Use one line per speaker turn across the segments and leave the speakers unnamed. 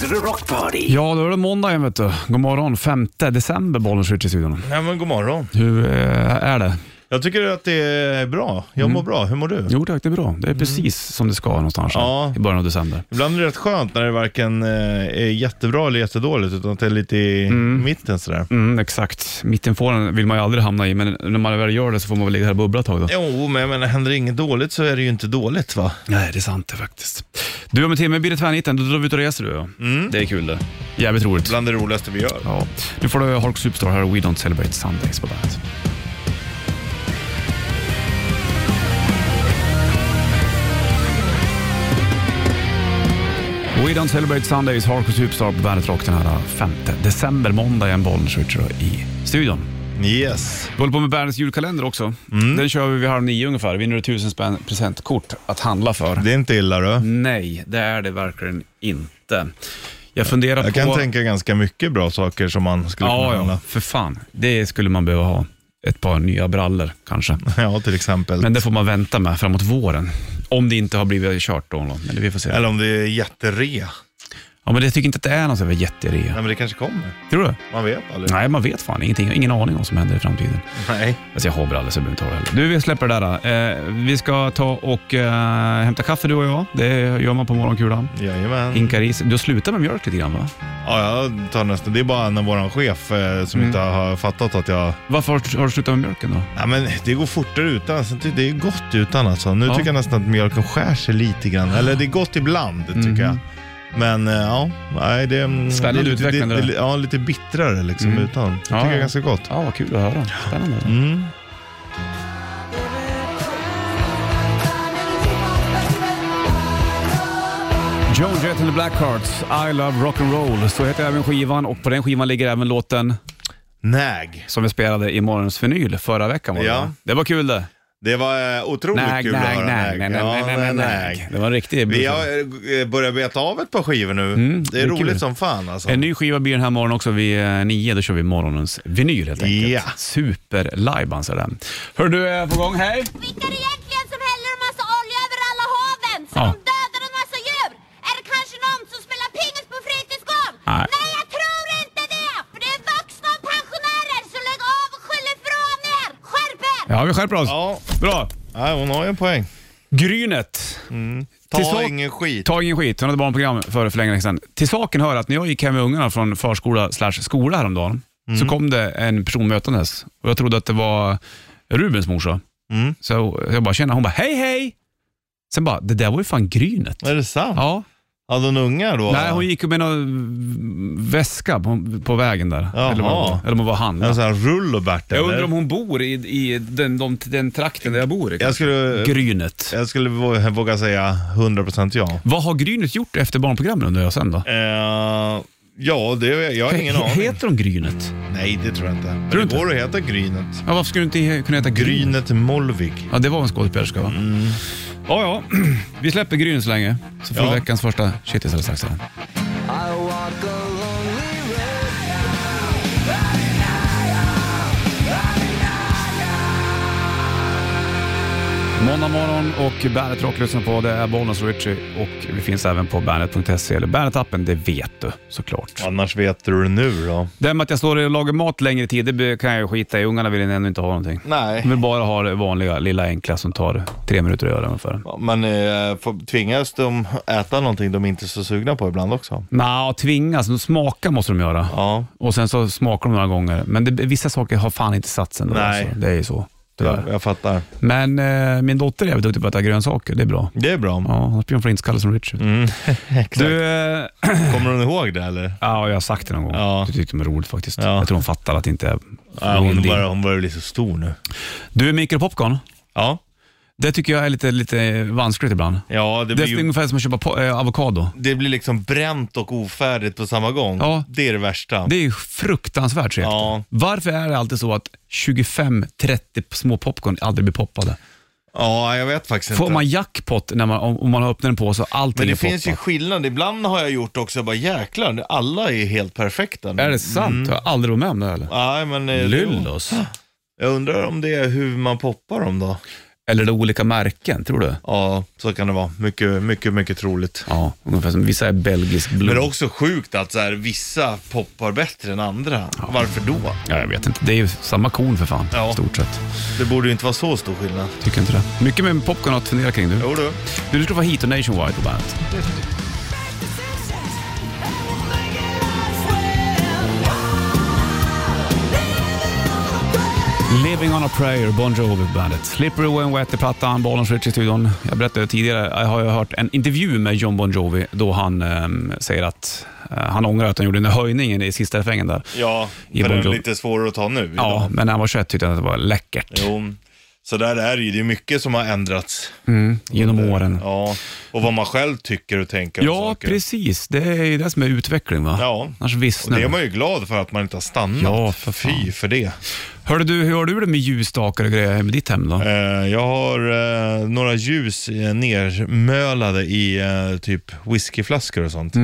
The Rock Party.
Ja, då är det måndag igen vet du. God morgon, 5 december bollen skjuter i studion.
Ja, men god morgon.
Hur eh, är det?
Jag tycker att det är bra. Jag mår bra. Hur mår du?
Jo tack, det är bra. Det är precis som det ska någonstans här
Ja.
i början av december.
Ibland är det rätt skönt när det varken eh, är jättebra eller jättedåligt, utan att det är lite i mitten sådär.
Mm, exakt. Mittenfåran vill man ju aldrig hamna i, men när man väl gör det så får man väl ligga här och bubbla ett tag då.
Jo, men jag menar, händer inget dåligt så är det ju inte dåligt va?
Nej, det är sant det faktiskt. Du, om en timme blir det tvärniten. Då drar vi ut och reser du och jag.
Mm.
Det är kul det. Jävligt roligt.
Bland det roligaste vi gör.
Ja. Nu får du Hark Superstar här och We Don't Celebrate Sundays på bandet. We Don't Celebrate Sundays, Hark Superstar på bandet Rock den här 5 december, måndag igen, Bollnäs Richard i studion.
Yes.
Vi håller på med Bernts julkalender också.
Mm.
Den kör vi vid halv nio ungefär. Vinner du tusen spänn presentkort att handla för?
Det är inte illa du.
Nej, det är det verkligen inte. Jag funderar
Jag
på...
kan tänka ganska mycket bra saker som man skulle kunna
Ja, ja,
handla.
för fan. Det skulle man behöva ha. Ett par nya brallor kanske.
Ja, till exempel.
Men det får man vänta med framåt våren. Om det inte har blivit kört då. Men det vi får se.
Eller om det är jätterea.
Ja, men jag tycker inte att det är någon sån här jätterea.
Nej, men det kanske kommer.
Tror du?
Man vet aldrig.
Nej, man vet fan ingenting. Jag har ingen aning om vad som händer i framtiden.
Nej.
Alltså jag har brallor så jag behöver inte ha det heller. Du, vi släpper det där. då. Eh, vi ska ta och eh, hämta kaffe du och jag. Det gör man på morgonkulan.
Jajamän.
Hinkar is. Du har slutat med mjölk lite grann va?
Ja, jag tar nästan. Det är bara när vår chef eh, som
Mm.
inte har fattat att jag...
Varför har du, har du slutat med mjölken då?
Ja, men det går fortare utan. Alltså, det det är gott utan alltså. Nu
Ja.
tycker jag nästan att mjölken skär sig lite grann. Eller det är gott ibland tycker jag. Men eh, ja, nej, det, mm,
Mm. Spännande
det, är lite-
utvecklande
det,
det
det, Ja, lite bittrare liksom utan. Det tycker
Ja,
jag är
ja.
ganska gott.
Ja, vad kul att höra. Spännande.
Mm.
Joan Jett and the Blackhearts, I Love Rock'n'Roll. Så heter även skivan och på den skivan ligger även låten
Näg.
som vi spelade i morgons vinyl förra veckan. Var det,
Ja.
va? det var kul det.
Det var eh, otroligt kul att höra näg. Ja, nej, näg.
Det var en riktig
Vi har eh, börjat beta av ett par skivor nu. det
det
är
är
roligt
kul.
som fan alltså.
En ny skiva blir den här morgonen också vid eh, nio. Då kör vi morgonens vinyl helt enkelt.
Ja.
Superlive alltså den. Hör du, är på gång. Hej!
Vilka är det egentligen som häller en massa olja över alla haven? Så
Ja.
de dödar en massa djur? Är det kanske någon som spelar pingis på fritidsgården?
Nej.
Nej, jag tror inte det! För det är vuxna och pensionärer, så lägg av och skyll ifrån er! Skärp er!
Ja, vi skärper oss.
Ja,
Bra.
nej, hon har ju en poäng.
Grynet.
Ta
Till sak-
ingen skit.
Ta ingen skit, hon hade barnprogram för, för länge sedan. Till saken hör att när jag gick hem med ungarna från förskola slash skola häromdagen, så
Mm.
kom det en person mötandes och jag trodde att det var Rubens morsa.
Mm.
Så jag bara känner, hon bara hej hej. Sen bara, det där var ju fan Grynet.
Är det sant?
Ja.
Hade hon ungar då?
Nej, hon gick med någon väska på, på vägen där.
Jaha.
Eller vad- eller om hon var han.
En sån här rullobert
Jag undrar
eller?
om hon bor i, i den, de, den trakten där jag bor.
Jag skulle,
Grynet.
jag skulle vå- våga säga 100% ja.
Vad har Grynet gjort efter barnprogrammen undrar jag sen då?
Eh, ja, det, jag har ingen aning.
Heter de Grynet?
Nej, det tror jag inte. Men
Tror du
det går att heta Grynet.
Ja, varför skulle du inte kunna heta Gryn?
Grynet Molvig.
Ja, det var en skådespelerska va? Ja, ja. Vi släpper Gryn så länge, så får
Ja.
vi veckans första shitis alldeles strax. igen. Måndag morgon och Bandet Rock lyssnar på. Det är Bollnäs och Richie och vi finns även på bandet.se eller Bandet-appen, det vet du såklart.
Annars vet du det nu då.
Det här med att jag står och lagar mat längre tid, det be- kan jag ju skita i. Ungarna vill ändå inte ha någonting. De
Nej.
vill bara ha det vanliga, lilla enkla som tar tre minuter att göra ungefär.
Men eh, får- tvingas de äta någonting de inte är så sugna på ibland också?
Nja, tvingas. De smaka måste de göra.
Ja.
Och sen så smakar de några gånger. Men det, vissa saker har fan inte satt sig ändå,
Nej.
Alltså. Det är ju så, tyvärr.
Jag, jag fattar.
Men eh, min dotter är jävligt duktig på att äta grönsaker. Det är bra.
Det är bra.
Ja, annars blir hon flintskallig som Richard.
Mm. Exakt.
Du, eh,
Kommer hon ihåg det eller?
ja, jag har sagt det någon gång.
Ja.
Du tyckte det var roligt faktiskt.
Ja.
Jag tror hon fattar att det inte är
Ja,
någon
hon,
din.
börjar, hon börjar bli så stor nu.
Du, mikropopcorn.
Ja.
Det tycker jag är lite, lite vanskligt ibland.
Ja,
Det
det blir
är
ju
ungefär som att köpa po- eh, avokado.
det blir liksom bränt och ofärdigt på samma gång.
Ja.
Det är det värsta.
Det är ju fruktansvärt segt.
Ja.
Varför är det alltid så att 25-30 små popcorn aldrig blir poppade?
ja, jag vet faktiskt
Får
inte.
man jackpot när man, om om man öppnar en påse och allting
Men det
är
finns ju
poppat?
skillnad. Ibland har jag gjort också bara jäklar, alla är helt perfekta. nu.
Är det sant? Jag har aldrig varit med om det heller.
Nej, men eh,
Lyllos.
Jag undrar om det är hur man poppar dem då.
Eller är det olika märken, tror du?
Ja, så kan det vara. Mycket, mycket, mycket troligt.
Ja, ungefär som vissa är belgisk blå.
Men det är också sjukt att så här, vissa poppar bättre än andra. Varför då?
Ja, jag vet inte. Det är ju samma korn för fan,
Ja.
stort sett.
Det borde ju inte vara så stor skillnad.
Tycker inte det. Mycket med popcorn att fundera kring du.
Jo du.
Du, du ska få hit och Nationwide på bandet. Living on a prayer, Bon Jovi på bandet. Slippery when wet i plattan, Bollens Rich i studion. Jag berättade tidigare, jag har ju hört en intervju med John Bon Jovi då han ehm, säger att eh, han ångrar att han gjorde den där höjningen i sista refrängen där.
Ja,
I
för den är
Bonjour.
lite svårare att ta nu.
Ja,
idag.
men när han var 21 tyckte han att det var läckert
Jo. Så där är det ju. Det är mycket som har ändrats.
mm, genom åren.
Ja, och vad man själv tycker och tänker. om
Ja,
saker.
precis. Det är ju det som är utveckling va?
Ja.
Annars
Och det
vissnar
är
det.
man ju glad för att man inte har stannat.
Ja, för fan.
Fy för det.
Hörde du, hur har du det med ljusstakar och grejer hemma i ditt hem då?
Eh, jag har eh, några ljus eh, nermölade i eh, typ whiskyflaskor och sånt.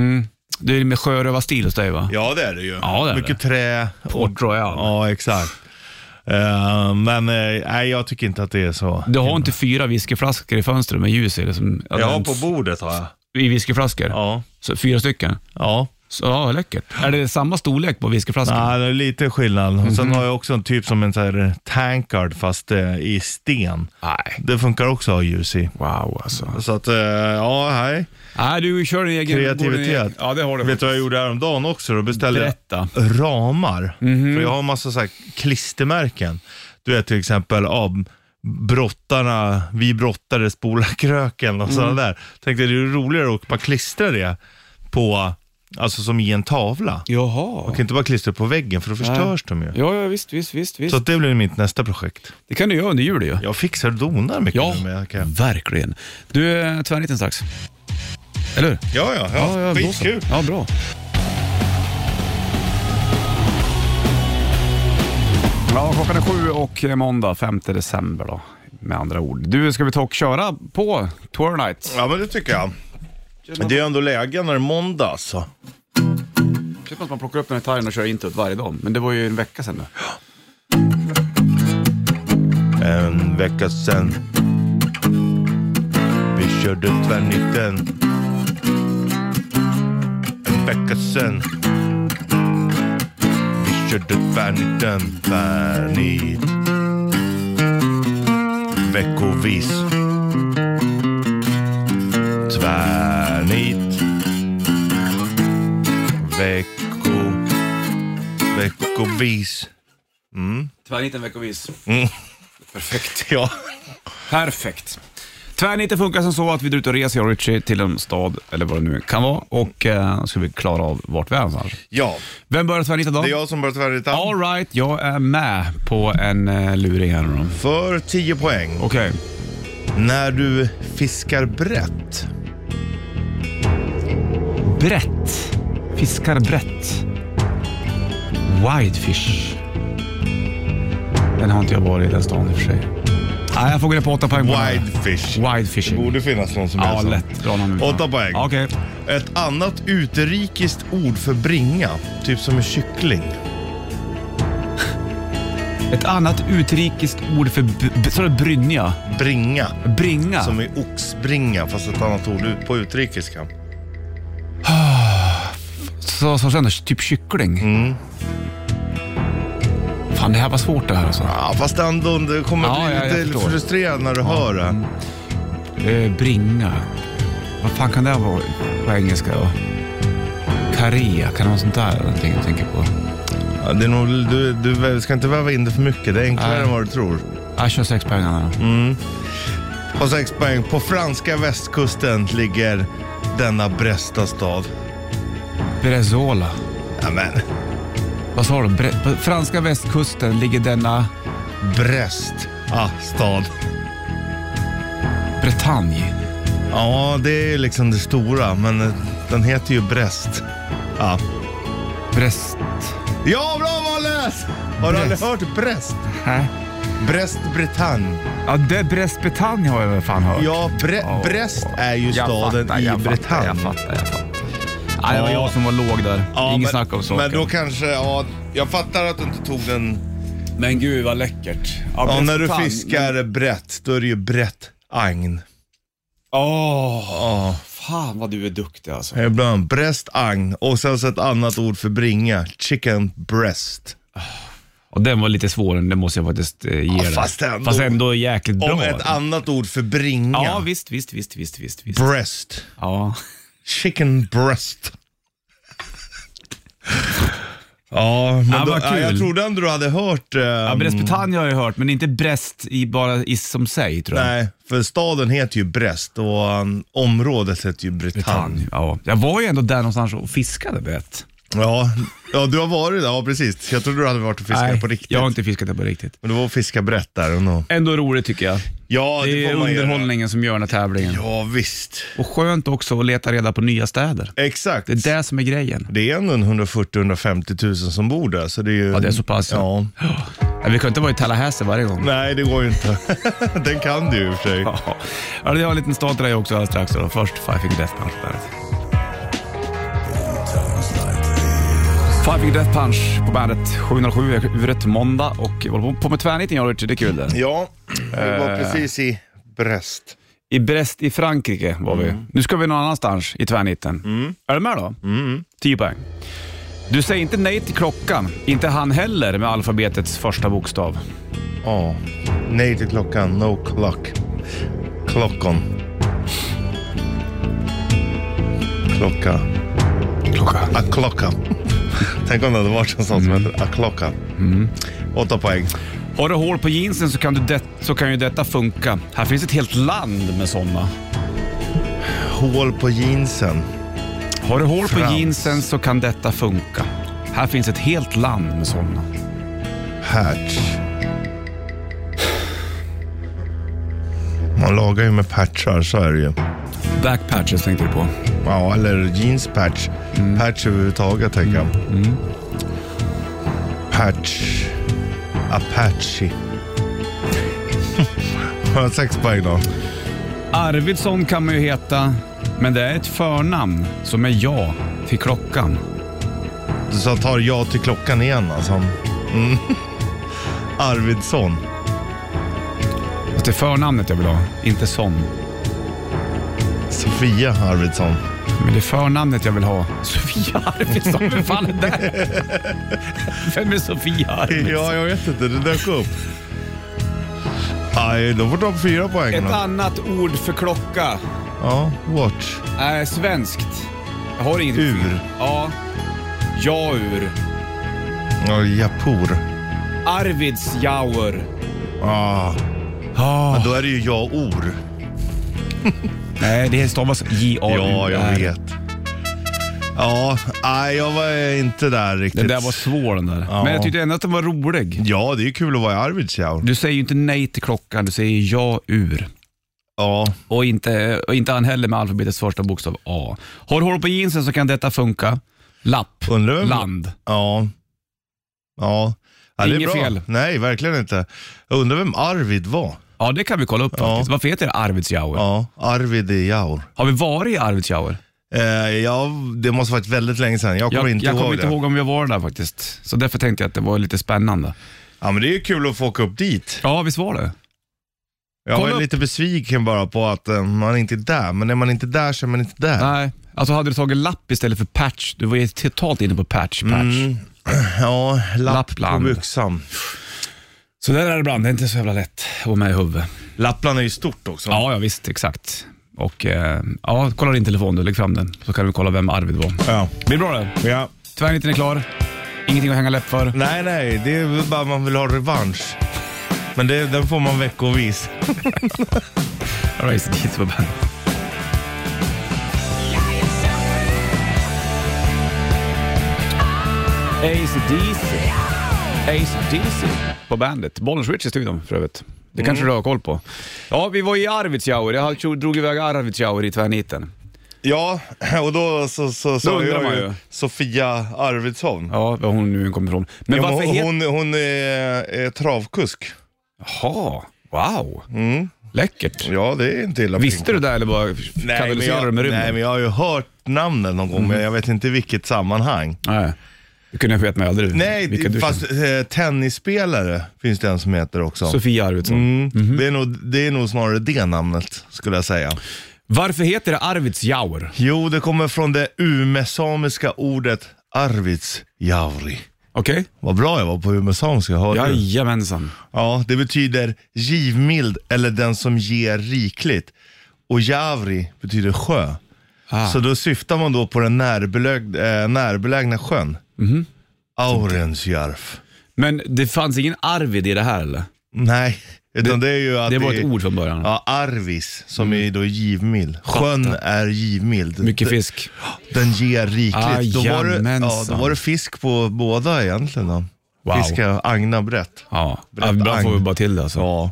Det är med sjörövarstil hos dig va?
Ja, det är det ju.
Mm. Ja, det är
Mycket trä.
Port Royal.
Ja, exakt. Eh, men eh, nej, jag tycker inte att det är så.
Du har inte fyra whiskyflaskor i fönstret med ljus i? Det som, alltså,
Ja, på bordet har jag.
I whiskyflaskor?
Ja.
Så fyra stycken?
Ja,
Så, ja, läckert. Är det samma storlek på whiskyflaskan?
nej, det är lite skillnad. Och
Mm.
sen har jag också en typ som en så här tankard fast eh, i sten.
Nej.
Det funkar också att ha ljus i.
Wow alltså.
Så att, eh, ja, nej.
Nej, du kör din egen...
Kreativitet.
går din egen- Ja, det har du.
Vet du vad jag gjorde häromdagen också? Då beställde jag
Berätta.
ramar.
Mhm.
För jag har en massa så här klistermärken. Du vet till exempel av brottarna, vi brottare spola kröken och sådana
Mm.
där. Tänkte det är ju roligare att bara klistra det på, alltså som i en tavla.
Jaha.
Jag kan inte bara klistra på väggen för då förstörs de ju.
Ja, ja, visst, visst, visst. visst.
Så att det blir mitt nästa projekt.
det kan du göra under jul ju.
Jag fixar och donar mycket
Ja,
nu med. kan jag.
verkligen. Du, eh, tvärniten strax. Eller hur?
Ja, ja, ja.
då så.
Skitkul.
Ja, bra. Ja, klockan är sju och eh, måndag 5 december då, med andra ord. Du, ska vi ta och köra på Tour Night?
Ja, men det tycker jag. Det är ändå läge när det är måndag alltså.
Känns som Typ att man plockar upp den här gitarren och kör introt varje dag, men det var ju en vecka sedan nu.
En vecka sen Vi körde tvärnitten En vecka sen Vi körde tvärnitten Tvärnit Veckovis Tvärnit Vecko Veckovis
Tvärniten veckovis.
Perfekt ja
Perfekt. Tvärniten funkar som så att vi drar ut och reser, jag och Richie, till en stad, eller vad det nu kan vara, och eh, ska vi klara av vart vi är någonstans.
Ja,
Vem börjar tvärnita då?
det är jag som börjar tvärnita.
All right, jag är med på en eh, luring här nu då.
För 10 poäng. Och
Okej.
när du fiskar brett.
Brett. Fiskar brett. Widefish. Den har inte jag varit i den stan i och för sig. Nej, jag får gå ner på åtta poäng. på den här.
Widefish. Det
Widefishing.
borde finnas någon som
Ja,
så.
lätt. Bra namn.
Åtta poäng.
Okej.
Ett annat utrikiskt ord för bringa, typ som en kyckling.
Ett annat utrikiskt ord för b- b- sa du brynja.
Bringa,
Bringa.
som är oxbringa, fast ett annat ord ut- på utrikiska.
Så, så kändes typ kyckling.
Mm.
Fan, det här var svårt det här alltså.
Ja, fast ändå, det kommer
Ja, ja,
bli
jag
lite
förstår.
frustrerad när du hör det.
Eh, bringa. Vad fan kan det här vara på engelska då? Karia, kan det vara sånt där någonting jag tänker på?
Ja, det är nog, du, du ska inte väva in det för mycket, det är enklare
Nej.
än vad du tror.
Jag Ah, kör sex poäng här då.
Och sex poäng. På franska västkusten ligger denna Bresta stad.
Brezola.
Amen.
Vad sa du? Bre- på franska västkusten ligger denna
Brest. Ah, stad.
Bretagne.
Ja, det är ju liksom det stora, men eh, den heter ju Brest. Ja,
Brest...
ja bra Valles! Har du aldrig
Brest.
hört Brest?
Hä?
Brest Bretagne.
Ja, det Brest-Bretagne har jag väl fan hört.
Ja, Bre-
Åh.
Brest är ju
Jag
staden
fattar,
i
jag
Bretagne.
Fattar, jag fattar, jag fattar. Nej, det var
Ja.
jag som var låg där.
Ja,
Ingen
men-
snack om saken.
Men då kanske, ja, jag fattar att du inte tog den
Men gud vad läckert.
Ja, när du
brett-
fiskar brett, då är det ju brett agn.
Åh,
Ja,
fan vad du är duktig alltså.
ibland Eh, breast agn och sen så ett annat ord för bringa, chicken breast.
Och den var lite svår, den måste jag faktiskt eh, ge
Ja,
dig.
fast ändå.
Fast ändå jäkligt bra.
Om ett annat ord för bringa,
Ja, visst, visst, visst, visst, visst. visst.
breast.
Ja.
Chicken breast. Ja, men
Ja,
då,
vad
ja, jag
kul.
trodde ändå du hade hört... ehm,
ja Brest Bretagne har jag hört, men inte Brest i, bara i, som sig tror jag.
nej, för staden heter ju Brest och um, området heter ju Bretagne.
Bretagne. Ja. Jag var ju ändå där någonstans och fiskade vet.
Ja, ja, du har varit där, ja precis. Jag trodde du hade varit och fiskat på riktigt.
jag har inte fiskat det på riktigt.
Men du var och fiskade brett där ändå.
Ändå roligt tycker jag.
Ja, det,
Det är
får man göra.
underhållningen som gör den här tävlingen.
Ja, visst.
Och skönt också att leta reda på nya städer.
Exakt.
Det
Det,
är det som är grejen.
är ändå en 140-150 000 som bor där, så det är ju...
Ja, det är så pass.
Ja.
Ja, Vi kan inte vara i Tallahassee varje gång.
Nej, det går ju inte. Den kan du ju i och för sig.
Ja, Ja, jag har en liten start till dig också alldeles strax. Då. Först Five Finger Death Punch på bandet. Five Finger Death Punch på bandet. 707 är huvudet måndag och vi håller på med tvärniten jag och Richard. Det är kul det.
Ja, Eh. vi var precis i Brest.
I Brest i Frankrike var vi. Nu ska vi någon annanstans i tvärniten. Är du med då? Mm. 10 poäng. Du säger inte nej till klockan, inte han heller med alfabetets första bokstav.
Ja. Nej till klockan, no clock. Klockon. Klocka.
Klocka.
A klocka. Tänk om det hade varit en sån
Mm.
som hette A klocka. Åtta poäng.
Har du hål på jeansen så kan, du det, så kan ju detta funka. Här finns ett helt land med sådana.
Hål på jeansen.
Har du hål på
Frans.
jeansen så kan detta funka. Här finns ett helt land med sådana.
Patch. Man lagar ju med patchar, så är det ju.
Backpatches tänkte du på.
Ja, eller jeanspatch. Patch överhuvudtaget, tänker jag. Patch. Apache. Har jag sex poäng då?
Arvidsson kan man ju heta, men det är ett förnamn som är ja till klockan.
Du sa tar jag till klockan igen alltså. Mm. Arvidsson.
Fast det är förnamnet jag vill ha, inte sån.
Sofia Arvidsson.
Men det är förnamnet jag vill ha. Sofia Arvidsson, vem fan är det? Vem är Sofia Arvidsson?
Ja, jag vet inte. Det dök upp. Nej, då får du ha fyra poäng.
Ett
då.
annat ord för klocka
Ja, watch.
är svenskt. Jag har inget
Ur.
Ja. Jaur.
Ja, Japur.
Arvidsjaur.
Ah.
Ah.
Då är det ju ja-or.
Nej, det stavas J-A-U.
Ja, jag vet. Ja, nej, jag var inte där riktigt.
Den där var svår den där.
Ja.
Men jag tyckte ändå att den var rolig.
Ja, det är ju kul att vara i Arvidsjaur.
Du säger ju inte nej till klockan, du säger ja ur.
Ja,
Och inte, och inte han heller med alfabetets första bokstav A. Har du hål på jeansen så kan detta funka. Lapp.
undrar vem...
Land.
Ja. Ja. ja det är
Inget
bra.
fel.
Nej, verkligen inte. Jag undrar vem Arvid var.
Ja, det kan vi kolla upp faktiskt. Varför heter det Arvidsjaur?
Ja, Arvid i Jaur.
Har vi varit i Arvidsjaur?
Eh, ja, det måste varit väldigt länge sedan. Jag kommer
Jag,
inte
jag kommer
ihåg
inte
det.
ihåg om vi har varit där faktiskt. Så därför tänkte jag att det var lite spännande.
Ja, men det är ju kul att få åka upp dit.
Ja, visst var det?
Jag
Kolla
var
upp.
lite besviken bara på att eh, man inte är där, men är man inte där så är man inte där.
Nej. Alltså hade du tagit lapp istället för patch, du var ju totalt inne på patch, patch.
Mm. Ja, lapp
Lappland.
på byxan.
Så där är det ibland, det är inte så jävla lätt att vara med i huvudet.
Lappland är ju stort också.
Ja, ja visst, exakt. Och eh, ja, kolla din telefon du, lägg fram den. Så kan vi kolla vem Arvid var.
Ja.
Blir bra det.
ja.
Tvärniten är klar. Ingenting att hänga läpp för.
Nej, nej, det är väl bara man vill ha revansch. Men det, den får man veckovis.
Race Kids på bandet. Ace DC. Ace DC på bandet. Bollens Rich i studion för övrigt. Det
Mm.
kanske du har koll på. Ja, vi var i Arvidsjaur. Jag tro- drog iväg Arvidsjaur i tvärniten.
Ja, och då så, så, så
undrar man ju.
Sofia Arvidsson.
Ja, var hon nu än kommer ifrån. Men
Ja, men
varför
hon,
heter...
hon, hon är, är travkusk.
Jaha, wow. Läckert.
Ja, det är inte illa.
Visste du det eller bara
Nej men,
katalyserade du
jag,
med rymden?
Mm. nej, men jag har ju hört namnen någon gång, men jag vet inte i vilket sammanhang.
Nej. Du kunde vet mig aldrig vilka
Nej,
du
fast
känner.
eh, tennisspelare finns det en som heter också.
Sofia Arvidsson.
Mm.
Mhm.
Det, är nog, det är nog snarare det namnet skulle jag säga.
Varför heter det Arvidsjaur?
Jo, det kommer från det umesamiska ordet arvidsjauri.
Okej?
Vad bra jag var på umesamiska, hörde du?
Jajamensan.
Ja, det betyder givmild eller den som ger rikligt. Och javri betyder sjö.
Ah.
Så då syftar man då på den närbeläg, eh, närbelägna sjön.
Mhm.
Aurensjärv.
Men det fanns ingen Arvid i det här eller?
Nej, utan det, är ju att
Det var ett ord från början.
Ja, Arvis, som är då givmild. Sjön är givmild.
Mm. Mycket
Den-
fisk.
Den ger rikligt. då, var det, ja, då
Ajamensan.
var det fisk på båda egentligen. Då.
Wow.
Fiska agna brett.
Ja,
Berätta,
ibland får vi
Agn.
bara till det alltså. Ja,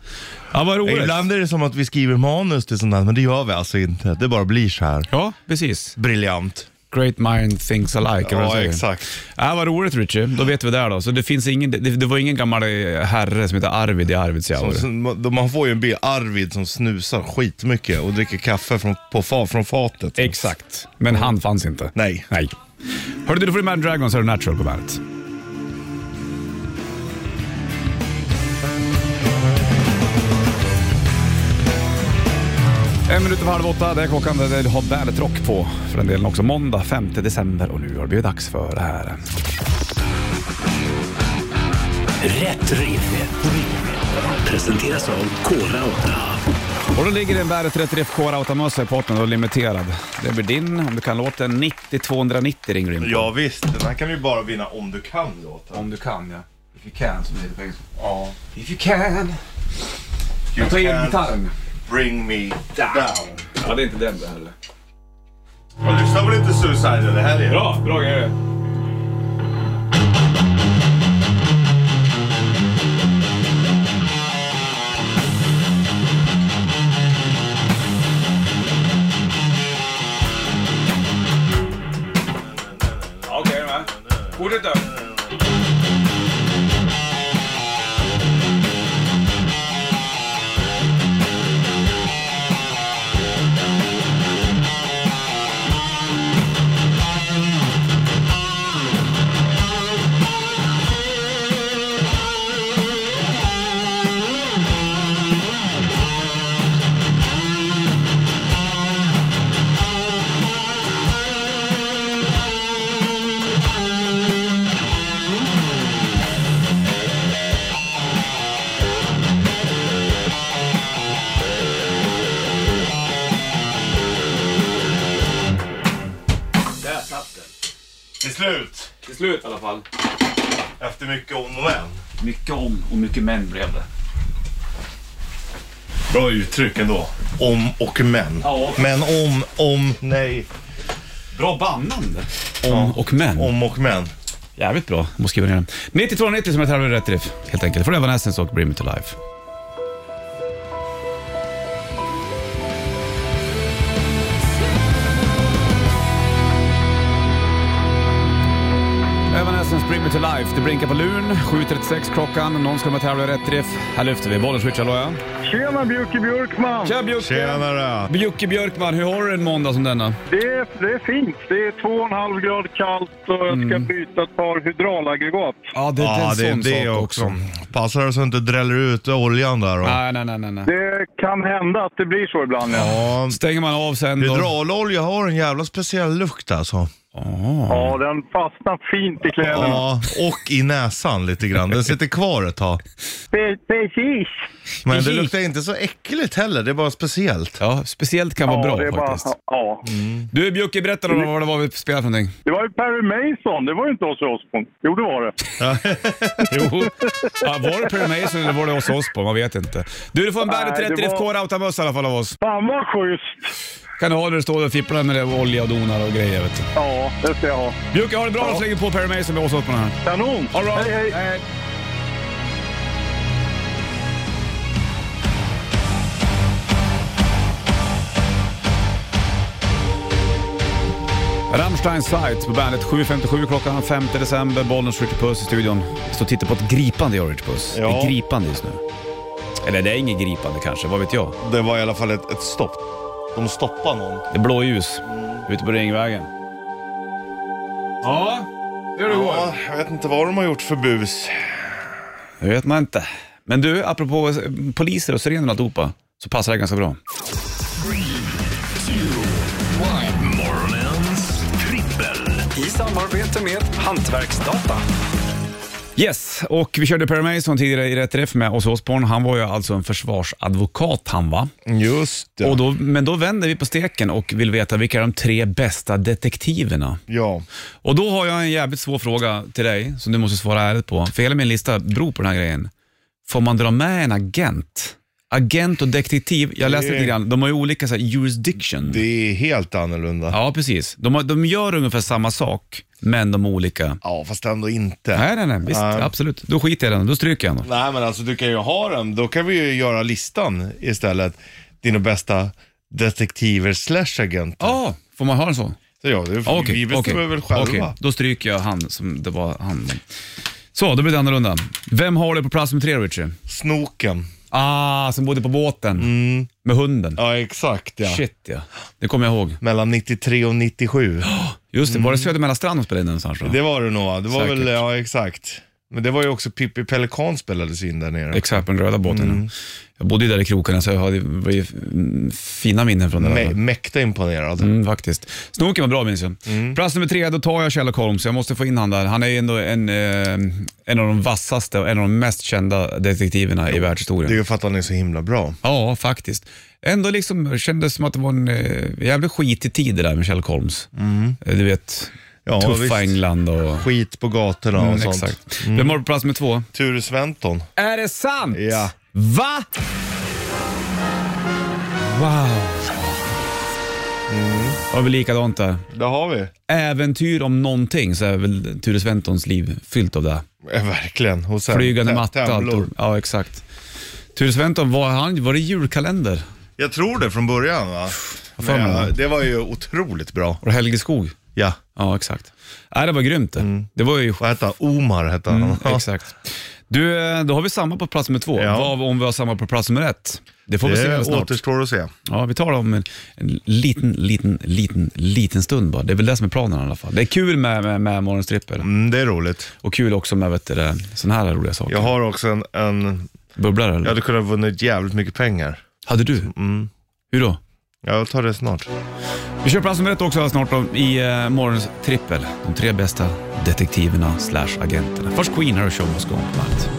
Ja.
vad roligt.
Ibland är det som att vi skriver manus till sånt här, men det gör vi alltså inte. Det bara blir så här.
Ja, precis.
Briljant.
Great mind thinks alike. eller vad
Ja,
säger jag?
exakt.
Ja, vad roligt Richie. Då vet vi där då. Så det, finns ingen, det, det var ingen gammal eh, herre som heter Arvid i Arvidsjaur.
Och sen- då Man får ju en bild, Arvid som snusar skitmycket och dricker kaffe från, på fa, från fatet.
Exakt. Men han fanns inte.
Nej.
Mm. Nej. Hörde du, då får du Mad Dragons och Natural på bandet. En minut över halv åtta, det är klockan. Det har bandet rock på för den delen också. Måndag 5 december och nu har det blivit dags för det här.
Rätt riff. Presenteras av Kora 8.
Och då ligger det en Bandet 33 Core Autamössa i partnern och limiterad. Det blir din om du kan låten 90 290 ringer du in på.
Ja visst, den här kan du ju bara vinna om du kan låten.
Om du kan ja. If you can som det heter på engelska. Ja. If you can. Jag tar in gitarren.
Bring me down.
Ja, det är inte den det heller.
Man lyssnar väl inte Suicide det här är?
Bra, bra grejer. Okej, är du med? Fortsätt då. Där satt den.
Till slut,
Till slut i alla fall.
efter mycket om och men.
Mycket om och mycket män blev det.
Bra uttryck ändå. Om och men.
Ja.
Men om, om, nej.
Bra bannande. Om och men.
Om och men.
Jävligt bra. Måste skriva ner den. 9290 som är tävlar i rätt riff, helt enkelt. Från Evanescence och Bring Me To Life. Evanescence Bring Me To Life. Det blinkar på luren. 7.36 klockan. Någon ska med och tävla i rätt riff. Här lyfter vi. Bollen switchar, hallå ja.
Tjena Bjucke Björkman!
Tja Bjucke!
Tjenare.
Bjucke Björkman, hur har du en måndag som denna?
Det är, det är fint. Det är två och en halv grad kallt och jag
Mm.
ska byta ett par hydraulaggregat.
Ja, det,
Ja, det är det också. Passar det så inte dräller ut oljan där då.
Nej, nej, nej, nej. nej.
Det kan hända att det blir så ibland. Ja,
Ja,
Stänger man av sen då?
hydraulolja har en jävla speciell lukt alltså.
ja den fastnar fint i kläderna.
Ja, och i näsan lite grann. Den sitter kvar ett tag.
Precis!
Men det luktar inte så äckligt heller, det är bara speciellt.
Ja, speciellt kan vara
ja,
bra
det är bara, Mm.
faktiskt.
ja.
Du Bjucke, berätta då vad det var vi spelade för någonting.
Det var ju Perry Mason. Det var ju inte oss i Osbourne. Jo, det var det.
Jo. Ja, var det Perry Mason eller var det oss oss på? Man vet inte. Du, du får en Bandet
Nej, det
30
var-
FK Rautamössa i alla fall av oss.
Fan vad schysst!
Kan du ha när du står och fipplar med det, och olja och donar och grejer. Vet du.
Ja, det ska jag ha.
Bjucke, ha det bra och slänger på Perry Mason med oss oss på den här.
Kanon!
All right.
Hej, hej!
Rammstein Sight på bandet 7.57 klockan 5 december. Bollnäs Richard Puss i studion. Står och tittar på ett gripande jag Richard Puss. Det
Ja.
är gripande just nu. Eller det är inget gripande kanske, vad vet jag?
Det var i alla fall ett, ett stopp. De stoppar någon.
Det är blåljus ute på Ringvägen. Ja, gör det igår.
Ja, jag vet inte vad de har gjort för bus.
Det vet man inte. Men du, apropå eh, poliser och sirener och alltihopa, så passar det ganska bra.
Morgonens trippel.
I samarbete med Hantverksdata.
Yes, och vi körde Per Mason tidigare i Rätt Träff med oss Osborn. Han var ju alltså en försvarsadvokat han va?
Just det.
Och då, men då vänder vi på steken och vill veta vilka är de tre bästa detektiverna?
ja.
Och då har jag en jävligt svår fråga till dig som du måste svara ärligt på. För hela min lista beror på den här grejen. Får man dra med en agent? Agent och detektiv, jag läste
Det-
lite grann, de har ju olika så här, jurisdiction.
Det är helt annorlunda. Ja,
Ja, precis. De, har- de gör ungefär samma sak, men de är olika.
fast ändå inte.
Nej, nej, nej. Visst,
Ja.
absolut. Då skiter jag i den, då stryker jag den.
Nej, men alltså du kan ju ha dem. Då kan vi ju göra listan istället. Dina bästa detektiver slash agenter.
Ja, får man ha den så?
Så ja, det,
Okej,
vi bestämmer
okej,
väl själva.
okej. Då stryker jag han som det var han. Så, då blir det annorlunda. Vem har du på plats med tre, Richie?
Snoken.
Ah, som bodde på båten
Mm.
med hunden.
Ja, exakt ja.
Shit ja, det kommer jag ihåg.
Mellan 93 och 97.
Just det, var det Södermälarstrand de spelade in någonstans? Då?
Mm. Det var det nog va? Det var
Säkert.
väl, ja exakt. Men det var ju också Pippi Pelikan spelades in där nere.
Exakt, på den röda båten.
Mm.
ja. Jag bodde ju där i krokarna så jag hade det var ju mm, fina minnen från det där.
Mä- mäkta imponerad.
Mm, faktiskt. Snoken var bra minns jag.
Mm.
Plats nummer tre, då tar jag Sherlock Holmes. Jag måste få in han där. Han är ju ändå en, eh, en av de vassaste och en av de mest kända detektiverna i världshistorien.
Det är ju för att han är så himla bra.
Ja, faktiskt. Ändå liksom kändes som att det var en eh, jävligt skitig tid det där med Sherlock Holmes. Eh, Du vet,
Mm. Ja,
tuffa
visst.
England och...
Skit på gatorna och
Mm,
sånt.
exakt. Vem har du på plats med två?
Ture Sventon.
Är det sant?
Ja.
Va? Wow.
Mm.
Det var väl likadant där.
Det har vi.
Äventyr om någonting så är väl Ture Sventons liv fyllt av det.
Eh, Verkligen. Och sen,
Flygande
tä-
matta och allt.
tävlor.
Ja, exakt. Ture Sventon, var, han, var det julkalender?
Jag tror det från början va?
fan,
Men,
va?
ja, det var ju otroligt bra.
Var det Helge Skog?
Ja.
Ja, exakt. Nej, det var grymt det.
Mm.
Det var ju
Vad hette han? Omar hette han.
Mm, exakt. Du, eh, då har vi samma på plats nummer två.
Ja.
Vad om vi har samma på plats nummer ett? Det får vi se
Det
snart.
återstår att se.
Ja, vi tar det om en, en liten, liten, liten, liten stund bara. Det är väl det som är planen i alla fall. Det är kul med, med, med morgonstripper
Mm, det är roligt.
och kul också med vet du, det, såna här roliga saker.
Jag har också en, en...
Bubblare eller?
Jag hade kunnat vunnit jävligt mycket pengar.
Hade du? Hur då?
Jag tar det snart.
Vi kör plats nummer ett också snart då, i eh, morgons trippel. De tre bästa detektiverna slash agenterna. Först Queen här och Show Must Go On på bandet.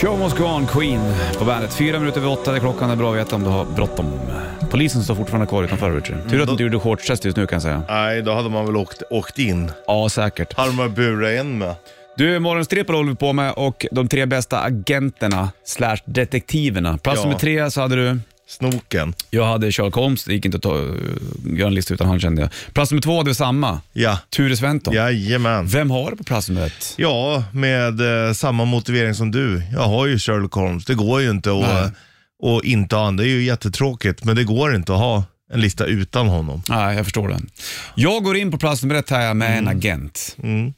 Show Must Go On, Queen på bandet. Fyra minuter över åtta är klockan. Det är bra att veta om du har bråttom. Polisen står fortfarande kvar utanför, Richard. Tur att du inte gjorde shortstest just nu kan jag säga.
Nej, då hade man väl åkt, åkt in.
Ja, säkert.
Hade man burat in med.
Du, morgonstrippel håller vi på med och de tre bästa agenterna slash detektiverna. Plats
Ja.
nummer tre så hade du...
Snoken.
Jag hade Sherlock Holmes, det gick inte att ta, eh, göra en lista utan han kände jag. Plats nummer två, det är samma.
Ja.
Ture Sventon.
Jajamän.
Vem har du på plats nummer ett?
Ja, med eh, samma motivering som du. Jag har ju Sherlock Holmes. Det går ju inte
Nej.
att och inte ha han. Det är ju jättetråkigt, men det går inte att ha en lista utan honom.
Nej, jag förstår den. Jag går in på plats nummer ett här med
Mm.
en agent.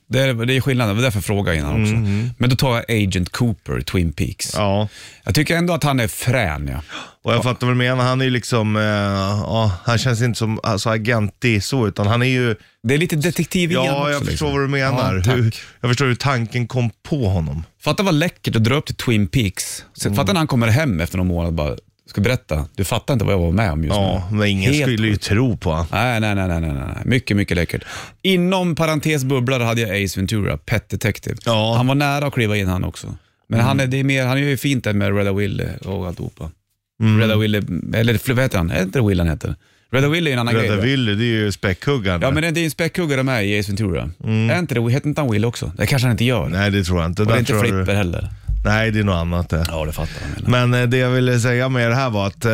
Det, är, det är skillnaden, det var därför jag frågade innan också. Men då tar jag Agent Cooper, Twin Peaks.
Mm. Ja,
Jag tycker ändå att han är frän. Ja.
och jag fattar vad du menar. Han är ju liksom, eh, ja, han känns inte som alltså, agentig så, utan han är ju,
Det är lite detektiv i
ja,
honom också.
jag
liksom.
förstår vad du menar.
Ja, tack.
hur, jag förstår hur tanken kom på honom.
Fatta vad läckert att dra upp till Twin Peaks. Så
Mm.
Fatta när han kommer hem efter någon månad och bara, ska berätta, du fattar inte vad jag var med om just
Ja,
nu.
Mm. men ingen
Helt
skulle ju tro på honom.
Nej, nej, nej, nej, nej, nej. Mycket, mycket läckert. Inom parentes bubblare hade jag Ace Ventura, Pet Detective.
Ja. Mm.
Han var nära att kliva in han också. Men han, är, det är mer, han gör ju fint där med Reda Willy och alltihopa.
Mm.
Reda Willy, eller vad heter han? Är det inte Will han heter? Reda Willy är en annan grej.
Rädda
va?
Willy, det är ju späckhuggaren.
Ja, men det är en späckhuggare med i Ace Ventura. Är inte det, heter inte han Will också? Det kanske han inte gör.
Mm. Nej, det tror jag inte.
och det är
Där
inte
tror jag du-
Flipper heller.
Nej, det är något annat det.
Ja, det fattar jag. menar.
Men eh, det jag ville säga med det här var att eh,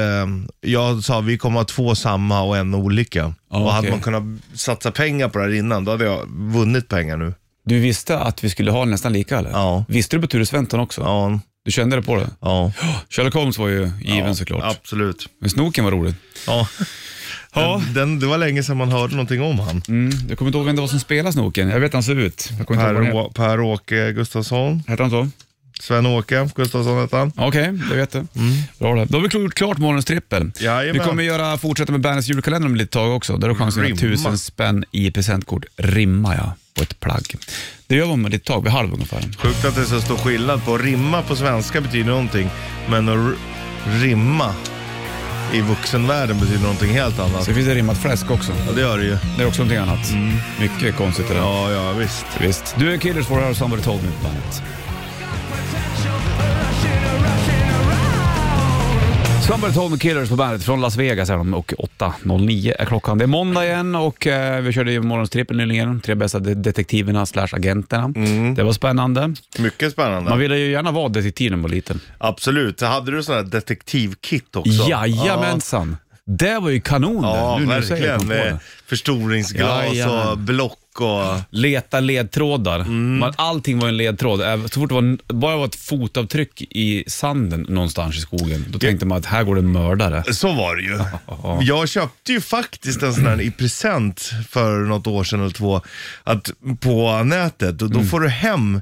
jag sa vi kommer ha två samma och en olika.
Ja,
och hade
okej.
man kunnat satsa pengar på det här innan, då hade jag vunnit pengar nu.
Du visste att vi skulle ha nästan lika eller?
Ja.
Visste du på Ture Sventon också?
Ja,
Du kände det på det?
ja.
Sherlock Holmes var ju given
ja,
såklart.
Absolut.
Men Snoken var rolig.
Ja.
Ja.
Den, den, det var länge sedan man hörde någonting om han.
Mm, jag kommer inte ihåg vem det var som spelade Snoken. Jag vet hur han ser ut. Jag kommer inte ihåg vad han heter.
Per- Per-Åke Gustafsson.
Hette han så?
Sven-Åke Gustafsson hette han.
Okej, det vet du. Bra det. Då har vi gjort klart morgonens trippel.
Mm. Jajamän.
Vi kommer göra, fortsätta med Bandets julkalender om ett litet tag också. Där har du chansen att vinna
Rimma.
tusen spänn i presentkort. Rimma ja, på ett plagg. Det gör vi om ett litet tag, vid halv ungefär.
Sjukt att det är så stor skillnad på rimma på svenska betyder någonting, men att r- rimma i vuxenvärlden betyder någonting helt annat.
Så finns det rimmat fläsk också.
Ja, det gör det ju.
Det är också någonting annat.
Mm.
Mycket konstigt det där.
Ja, ja, visst.
Visst. Du är Killers for Her, Somebody Told Me på bandet. Somebody Told Me Killers på bandet från Las Vegas är de och 8.09 är klockan. Det är måndag igen och eh, vi körde ju morgonstrippen nyligen. Tre bästa de- detektiverna slash agenterna.
Mm.
Det var spännande.
Mycket spännande.
Man ville ju gärna vara detektiv när man var liten.
Absolut. Så hade du sådana här detektivkit också?
Jajamensan! Det var ju kanon
Ja,
det,
ja
nu när du säger att
verkligen.
man får det.
Med förstoringsglas och
Jajamän.
block och...
Leta ledtrådar.
Mm.
Man, allting var en ledtråd. Även- Så fort det var, bara var ett fotavtryck i sanden någonstans i skogen, då tänkte man att här går det en mördare.
Så var det ju. Jag köpte ju faktiskt en sån här i present för något år sedan eller två att på nätet. Och
Mm.
då får du hem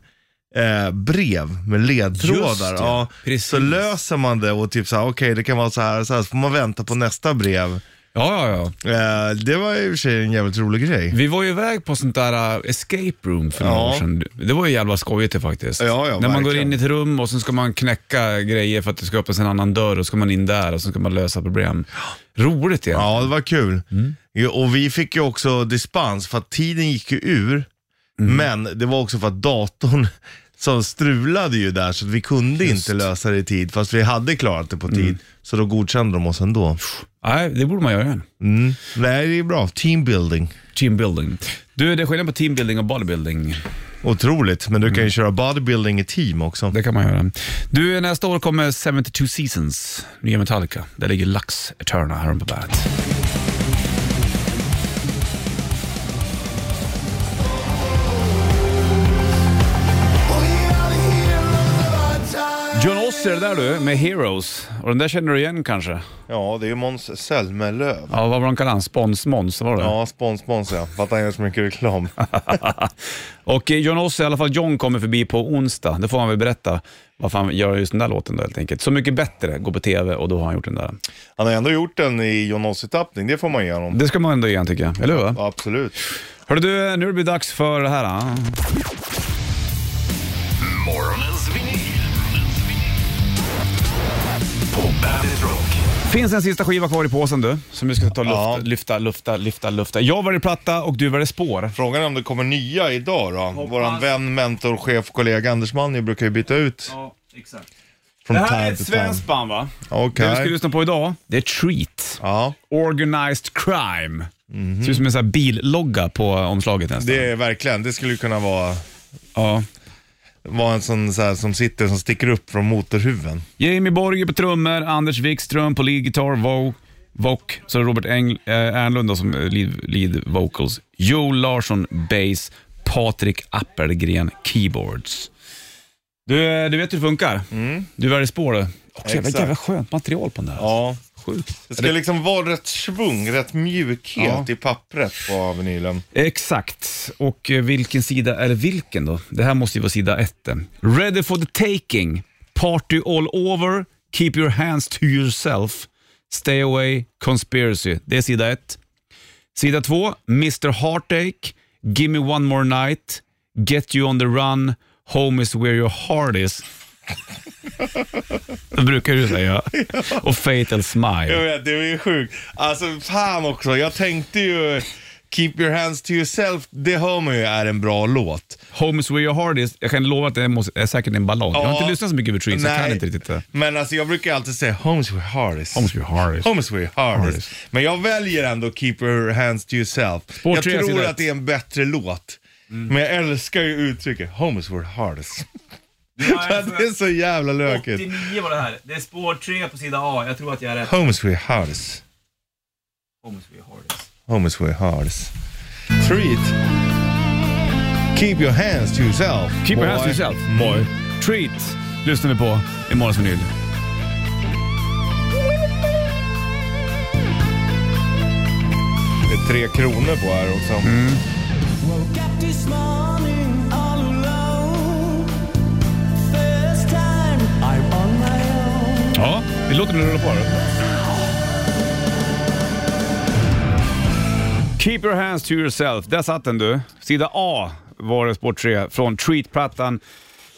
eh, brev med
Just
ledtrådar.
det,
Ja,
precis.
så löser man det och typ så här, okej det kan vara så här och så här. Så får man vänta på nästa brev.
Ja, ja, ja.
Eh, det var i och för sig en jävligt rolig grej.
Vi var ju iväg på sånt där äh, escape room för några
Ja.
år sedan. Det var ju jävla skojigt det faktiskt.
Ja, ja,
När man går in
verkligen.
i ett rum och sen ska man knäcka grejer för att det ska öppnas en annan dörr och så ska man in där och så ska man lösa problem. Roligt igen.
Ja, det var kul. Jo, Och vi fick ju också dispens för att tiden gick ju ur. Men det var också för att datorn som strulade ju där så att vi kunde inte lösa det i tid. Fast vi hade klarat det på tid. Så då godkände de oss ändå.
Nej, det borde man göra igen.
Mm. Nej, det är bra. Teambuilding.
Teambuilding. Du, det är skillnad på teambuilding och bodybuilding.
Otroligt. Men du kan ju köra bodybuilding i team också.
Det kan man göra. Du, nästa år kommer 72 Seasons, nya Metallica. Där ligger Lux Eterna här på bandet. John Ossie är det där du, med Heroes. Och den där känner du igen kanske?
Ja, det är ju Måns Zelmerlöw.
Ja, vad var han kallade han? Spons Måns, var det?
Ja, spons, spons ja. För att han gör så mycket reklam.
Och eh, John Ossie, i alla fall John, kommer förbi på onsdag. Det får han väl berätta varför han gör just den där låten då helt enkelt. Så mycket bättre, går på TV och då har han gjort den där.
Han har ändå gjort den i John Ossie-tappning. Det får man ge honom.
Det ska man ändå ge han, tycker jag, eller hur?
Absolut.
Hörru du, nu blir det dags för det här. ah.
Morgonens vinyl. På Bandit Rock.
Finns en sista skiva kvar i påsen du, som vi ska ta och lufta,
Ja.
lyfta, lufta, lyfta, lufta. Jag väljer platta och du väljer spår.
Frågan är om det kommer nya idag då? Våran vän, mentor, chef, kollega Anders Manning brukar ju byta ut
Ja, exakt.
från
Det här är
time
ett
to time.
svenskt band va?
Okej.
Det vi ska lyssna på idag, det är Treat.
Ja,
Organized Crime.
Mhm.
Ser ut som en sån här billogga på omslaget nästan.
det är verkligen, det skulle ju kunna vara,
Ja.
vara en sån så här, som sitter, som sticker upp från motorhuven.
Jamie Borger på trummor, Anders Wikström på lead guitar, Vogue, Vok, så är det Robert Eng, eh, Ernlund då som eh, lead, lead vocals, Joel Larsson bass, Patrik Appelgren keyboards. Du, eh, du vet hur det funkar? Du väljer spår du. Också jävla,
Mm. Exakt.
jävla skönt material på den där.
Ja.
Sjukt.
Det ska liksom vara rätt svung, rätt mjukhet
Ja.
i pappret på vinylen.
Exakt. Och eh, vilken sida är det vilken då? Det här måste ju vara sida ett. eh. Ready for the taking. Party all over. Keep your hands to yourself. Stay away. Conspiracy. Det är sida ett. Sida två. Mr Heartache. Give me one more night. Get you on the run. Home is where your heart is. Det brukar du säga. Och Fatal
Jag
Smile.
vet, det är ju sjukt. Alltså fan också, jag tänkte ju Keep your hands to yourself, det hör man ju är en bra låt.
Home is where your heart is. Jag kan lova att det måste, är säkert en ballad. Jag har
Ja.
inte lyssnat så mycket på Trees, så jag kan
Nej.
inte riktigt eh. det.
Men alltså jag brukar alltid säga Homes where hardest.
Homes where heart is.
Homes where hardest.
Hardest.
Men jag väljer ändå Keep your hands to yourself.
Spår
jag
tre, Mm.
tror
sida ett.
att det är en bättre låt. Men jag älskar ju uttrycket Homes where hardest. det är så jävla lökigt.
var det här. Det är spår 3 på sida A. Jag tror att jag är rätt.
Homes where hardest. Homes where hardest. Treat. Keep your hands to yourself.
Keep your hands to
boy.
yourself. Boy. Treat lyssnar vi på i morgons vinyl.
Det är tre kronor på här också.
Mm.
Woke up this morning all alone. First time
Vi låter den rulla på då. Keep your hands to yourself. Där satt den du. Sida A var det sport 3 från Treat-plattan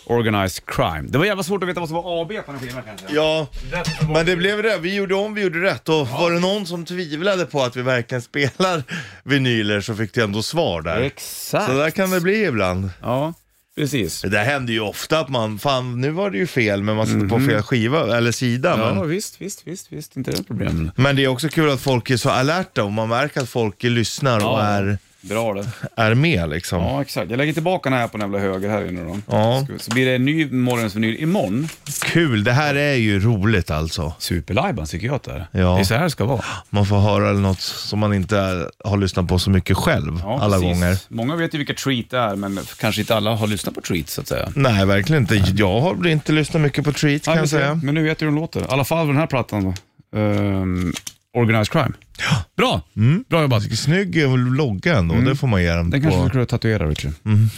Organized Crime. Det var jävla svårt att veta vad som var AB på den skivan kanske.
Ja,
Rätt var-
men det blev det. Vi gjorde om, vi gjorde rätt. Och var det någon som tvivlade på att vi verkligen spelar vinyler så fick det ändå svar där.
Exakt.
Så där kan det bli ibland.
Ja, precis.
Det där händer ju ofta att man, fan nu var det ju fel men man sitter på fel skiva eller sida.
Mhm. Ja,
Men,
visst, visst, visst, visst. Inte det problem.
men det är också kul att folk är så alerta och man märker att folk lyssnar och
Ja.
är,
Bra det.
är med liksom.
Ja, exakt. Jag lägger tillbaka den här på den jävla höger här inne då.
Ja.
Så blir det en ny morgonens vinyl imorgon.
Kul, det här är ju roligt alltså.
Superlajban tycker jag att det är.
Ja.
Det är så här det ska vara.
Man får höra något som man inte har lyssnat på så mycket själv
Ja,
alla
precis.
gånger.
Många vet ju vilka Treat är, men kanske inte alla har lyssnat på Treat så att säga.
Nej, verkligen inte. Jag har inte lyssnat mycket på Treat kan
Nej,
jag
men-
säga.
Men nu vet du hur de låter. I alla fall den här plattan då. Ehm, Organized Crime. Bra! Bra jobbat.
Snygg logga ändå, det får man ge den,
Mm. Den kanske du
på.
skulle tatuera, Richard.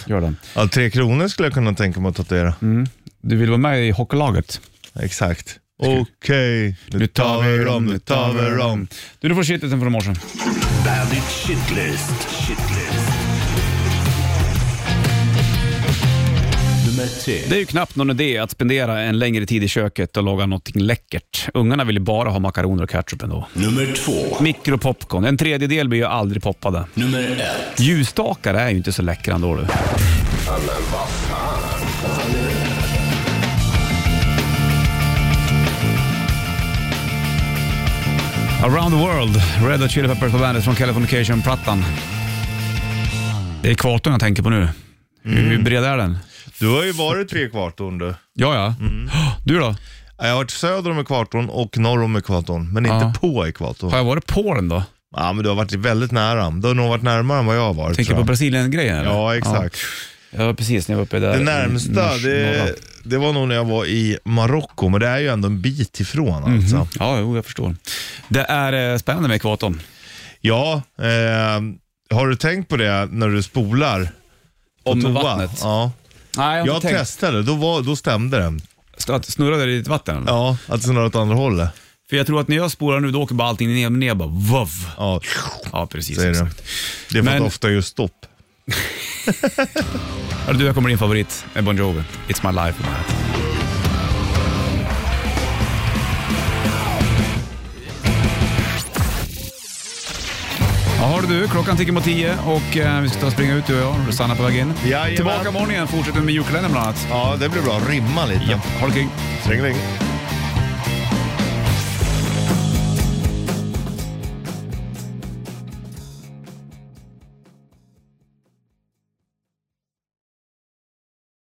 Gör den.
Ja, tre kronor skulle jag kunna tänka mig att tatuera.
Mm. Du vill vara med i hockeylaget?
Exakt. Okej, nu tar vi dem, nu tar vi dem.
Du, du får shitlisten från i morse.
Bandit Shitlist. Shitlist. Nummer tre.
Det är ju knappt någon idé att spendera en längre tid i köket och laga någonting läckert. Ungarna vill ju bara ha makaroner och ketchup ändå.
Nummer två.
Mikropopcorn. En tredjedel blir ju aldrig poppade.
Nummer ett.
Ljusstakar är ju inte så läckra ändå du. Around the world, Red Hot Chili Peppers på bandet från Californication-plattan. Det är kvarton jag tänker på nu. Hur,
Mm.
hur bred är den?
Du har ju varit vid kvarton du.
Ja, ja.
Mm.
Du då?
Jag har varit söder om ekvatorn och norr om ekvatorn, men
Ja.
inte på ekvatorn.
Har jag varit på den då?
Ja, men du har varit väldigt nära. Du har nog varit närmare än vad jag har varit.
Tänker
tror
på
jag.
Brasilien-grejen? eller?
Ja, exakt.
Ja, precis. När jag var uppe där.
Det
i
närmsta,
norr- norra.
det, det var nog när jag var i Marocko, men det är ju ändå en bit ifrån
Mhm.
alltså.
Ja, jo, jag förstår. Det är eh, spännande med ekvatorn.
Ja, eh, har du tänkt på det när du spolar på
Om
toa?
vattnet?
Ja.
Nej,
Jag testade, då, var, då stämde det.
Ska- att Snurra där i ditt vatten? eller?
Ja, att det snurrar åt andra hållet.
För jag tror att när jag spolar nu, då åker bara allting ner, ner bara vov.
Ja,
Ja, precis.
säger du.
exakt.
Det är för
Men-
att ofta gör stopp.
Ja, du, jag kommer din favorit, eh, Bon Jovi. It's my life. Jaha du, klockan tickar mot tio och eh, vi ska ta och springa ut du och jag. Sanna på väg in.
Jajamän.
Tillbaka imorgon igen, fortsätter med julkalendern bland annat.
Ja, det blir bra. Rimma lite.
Ja, ha det kring.
Tringling.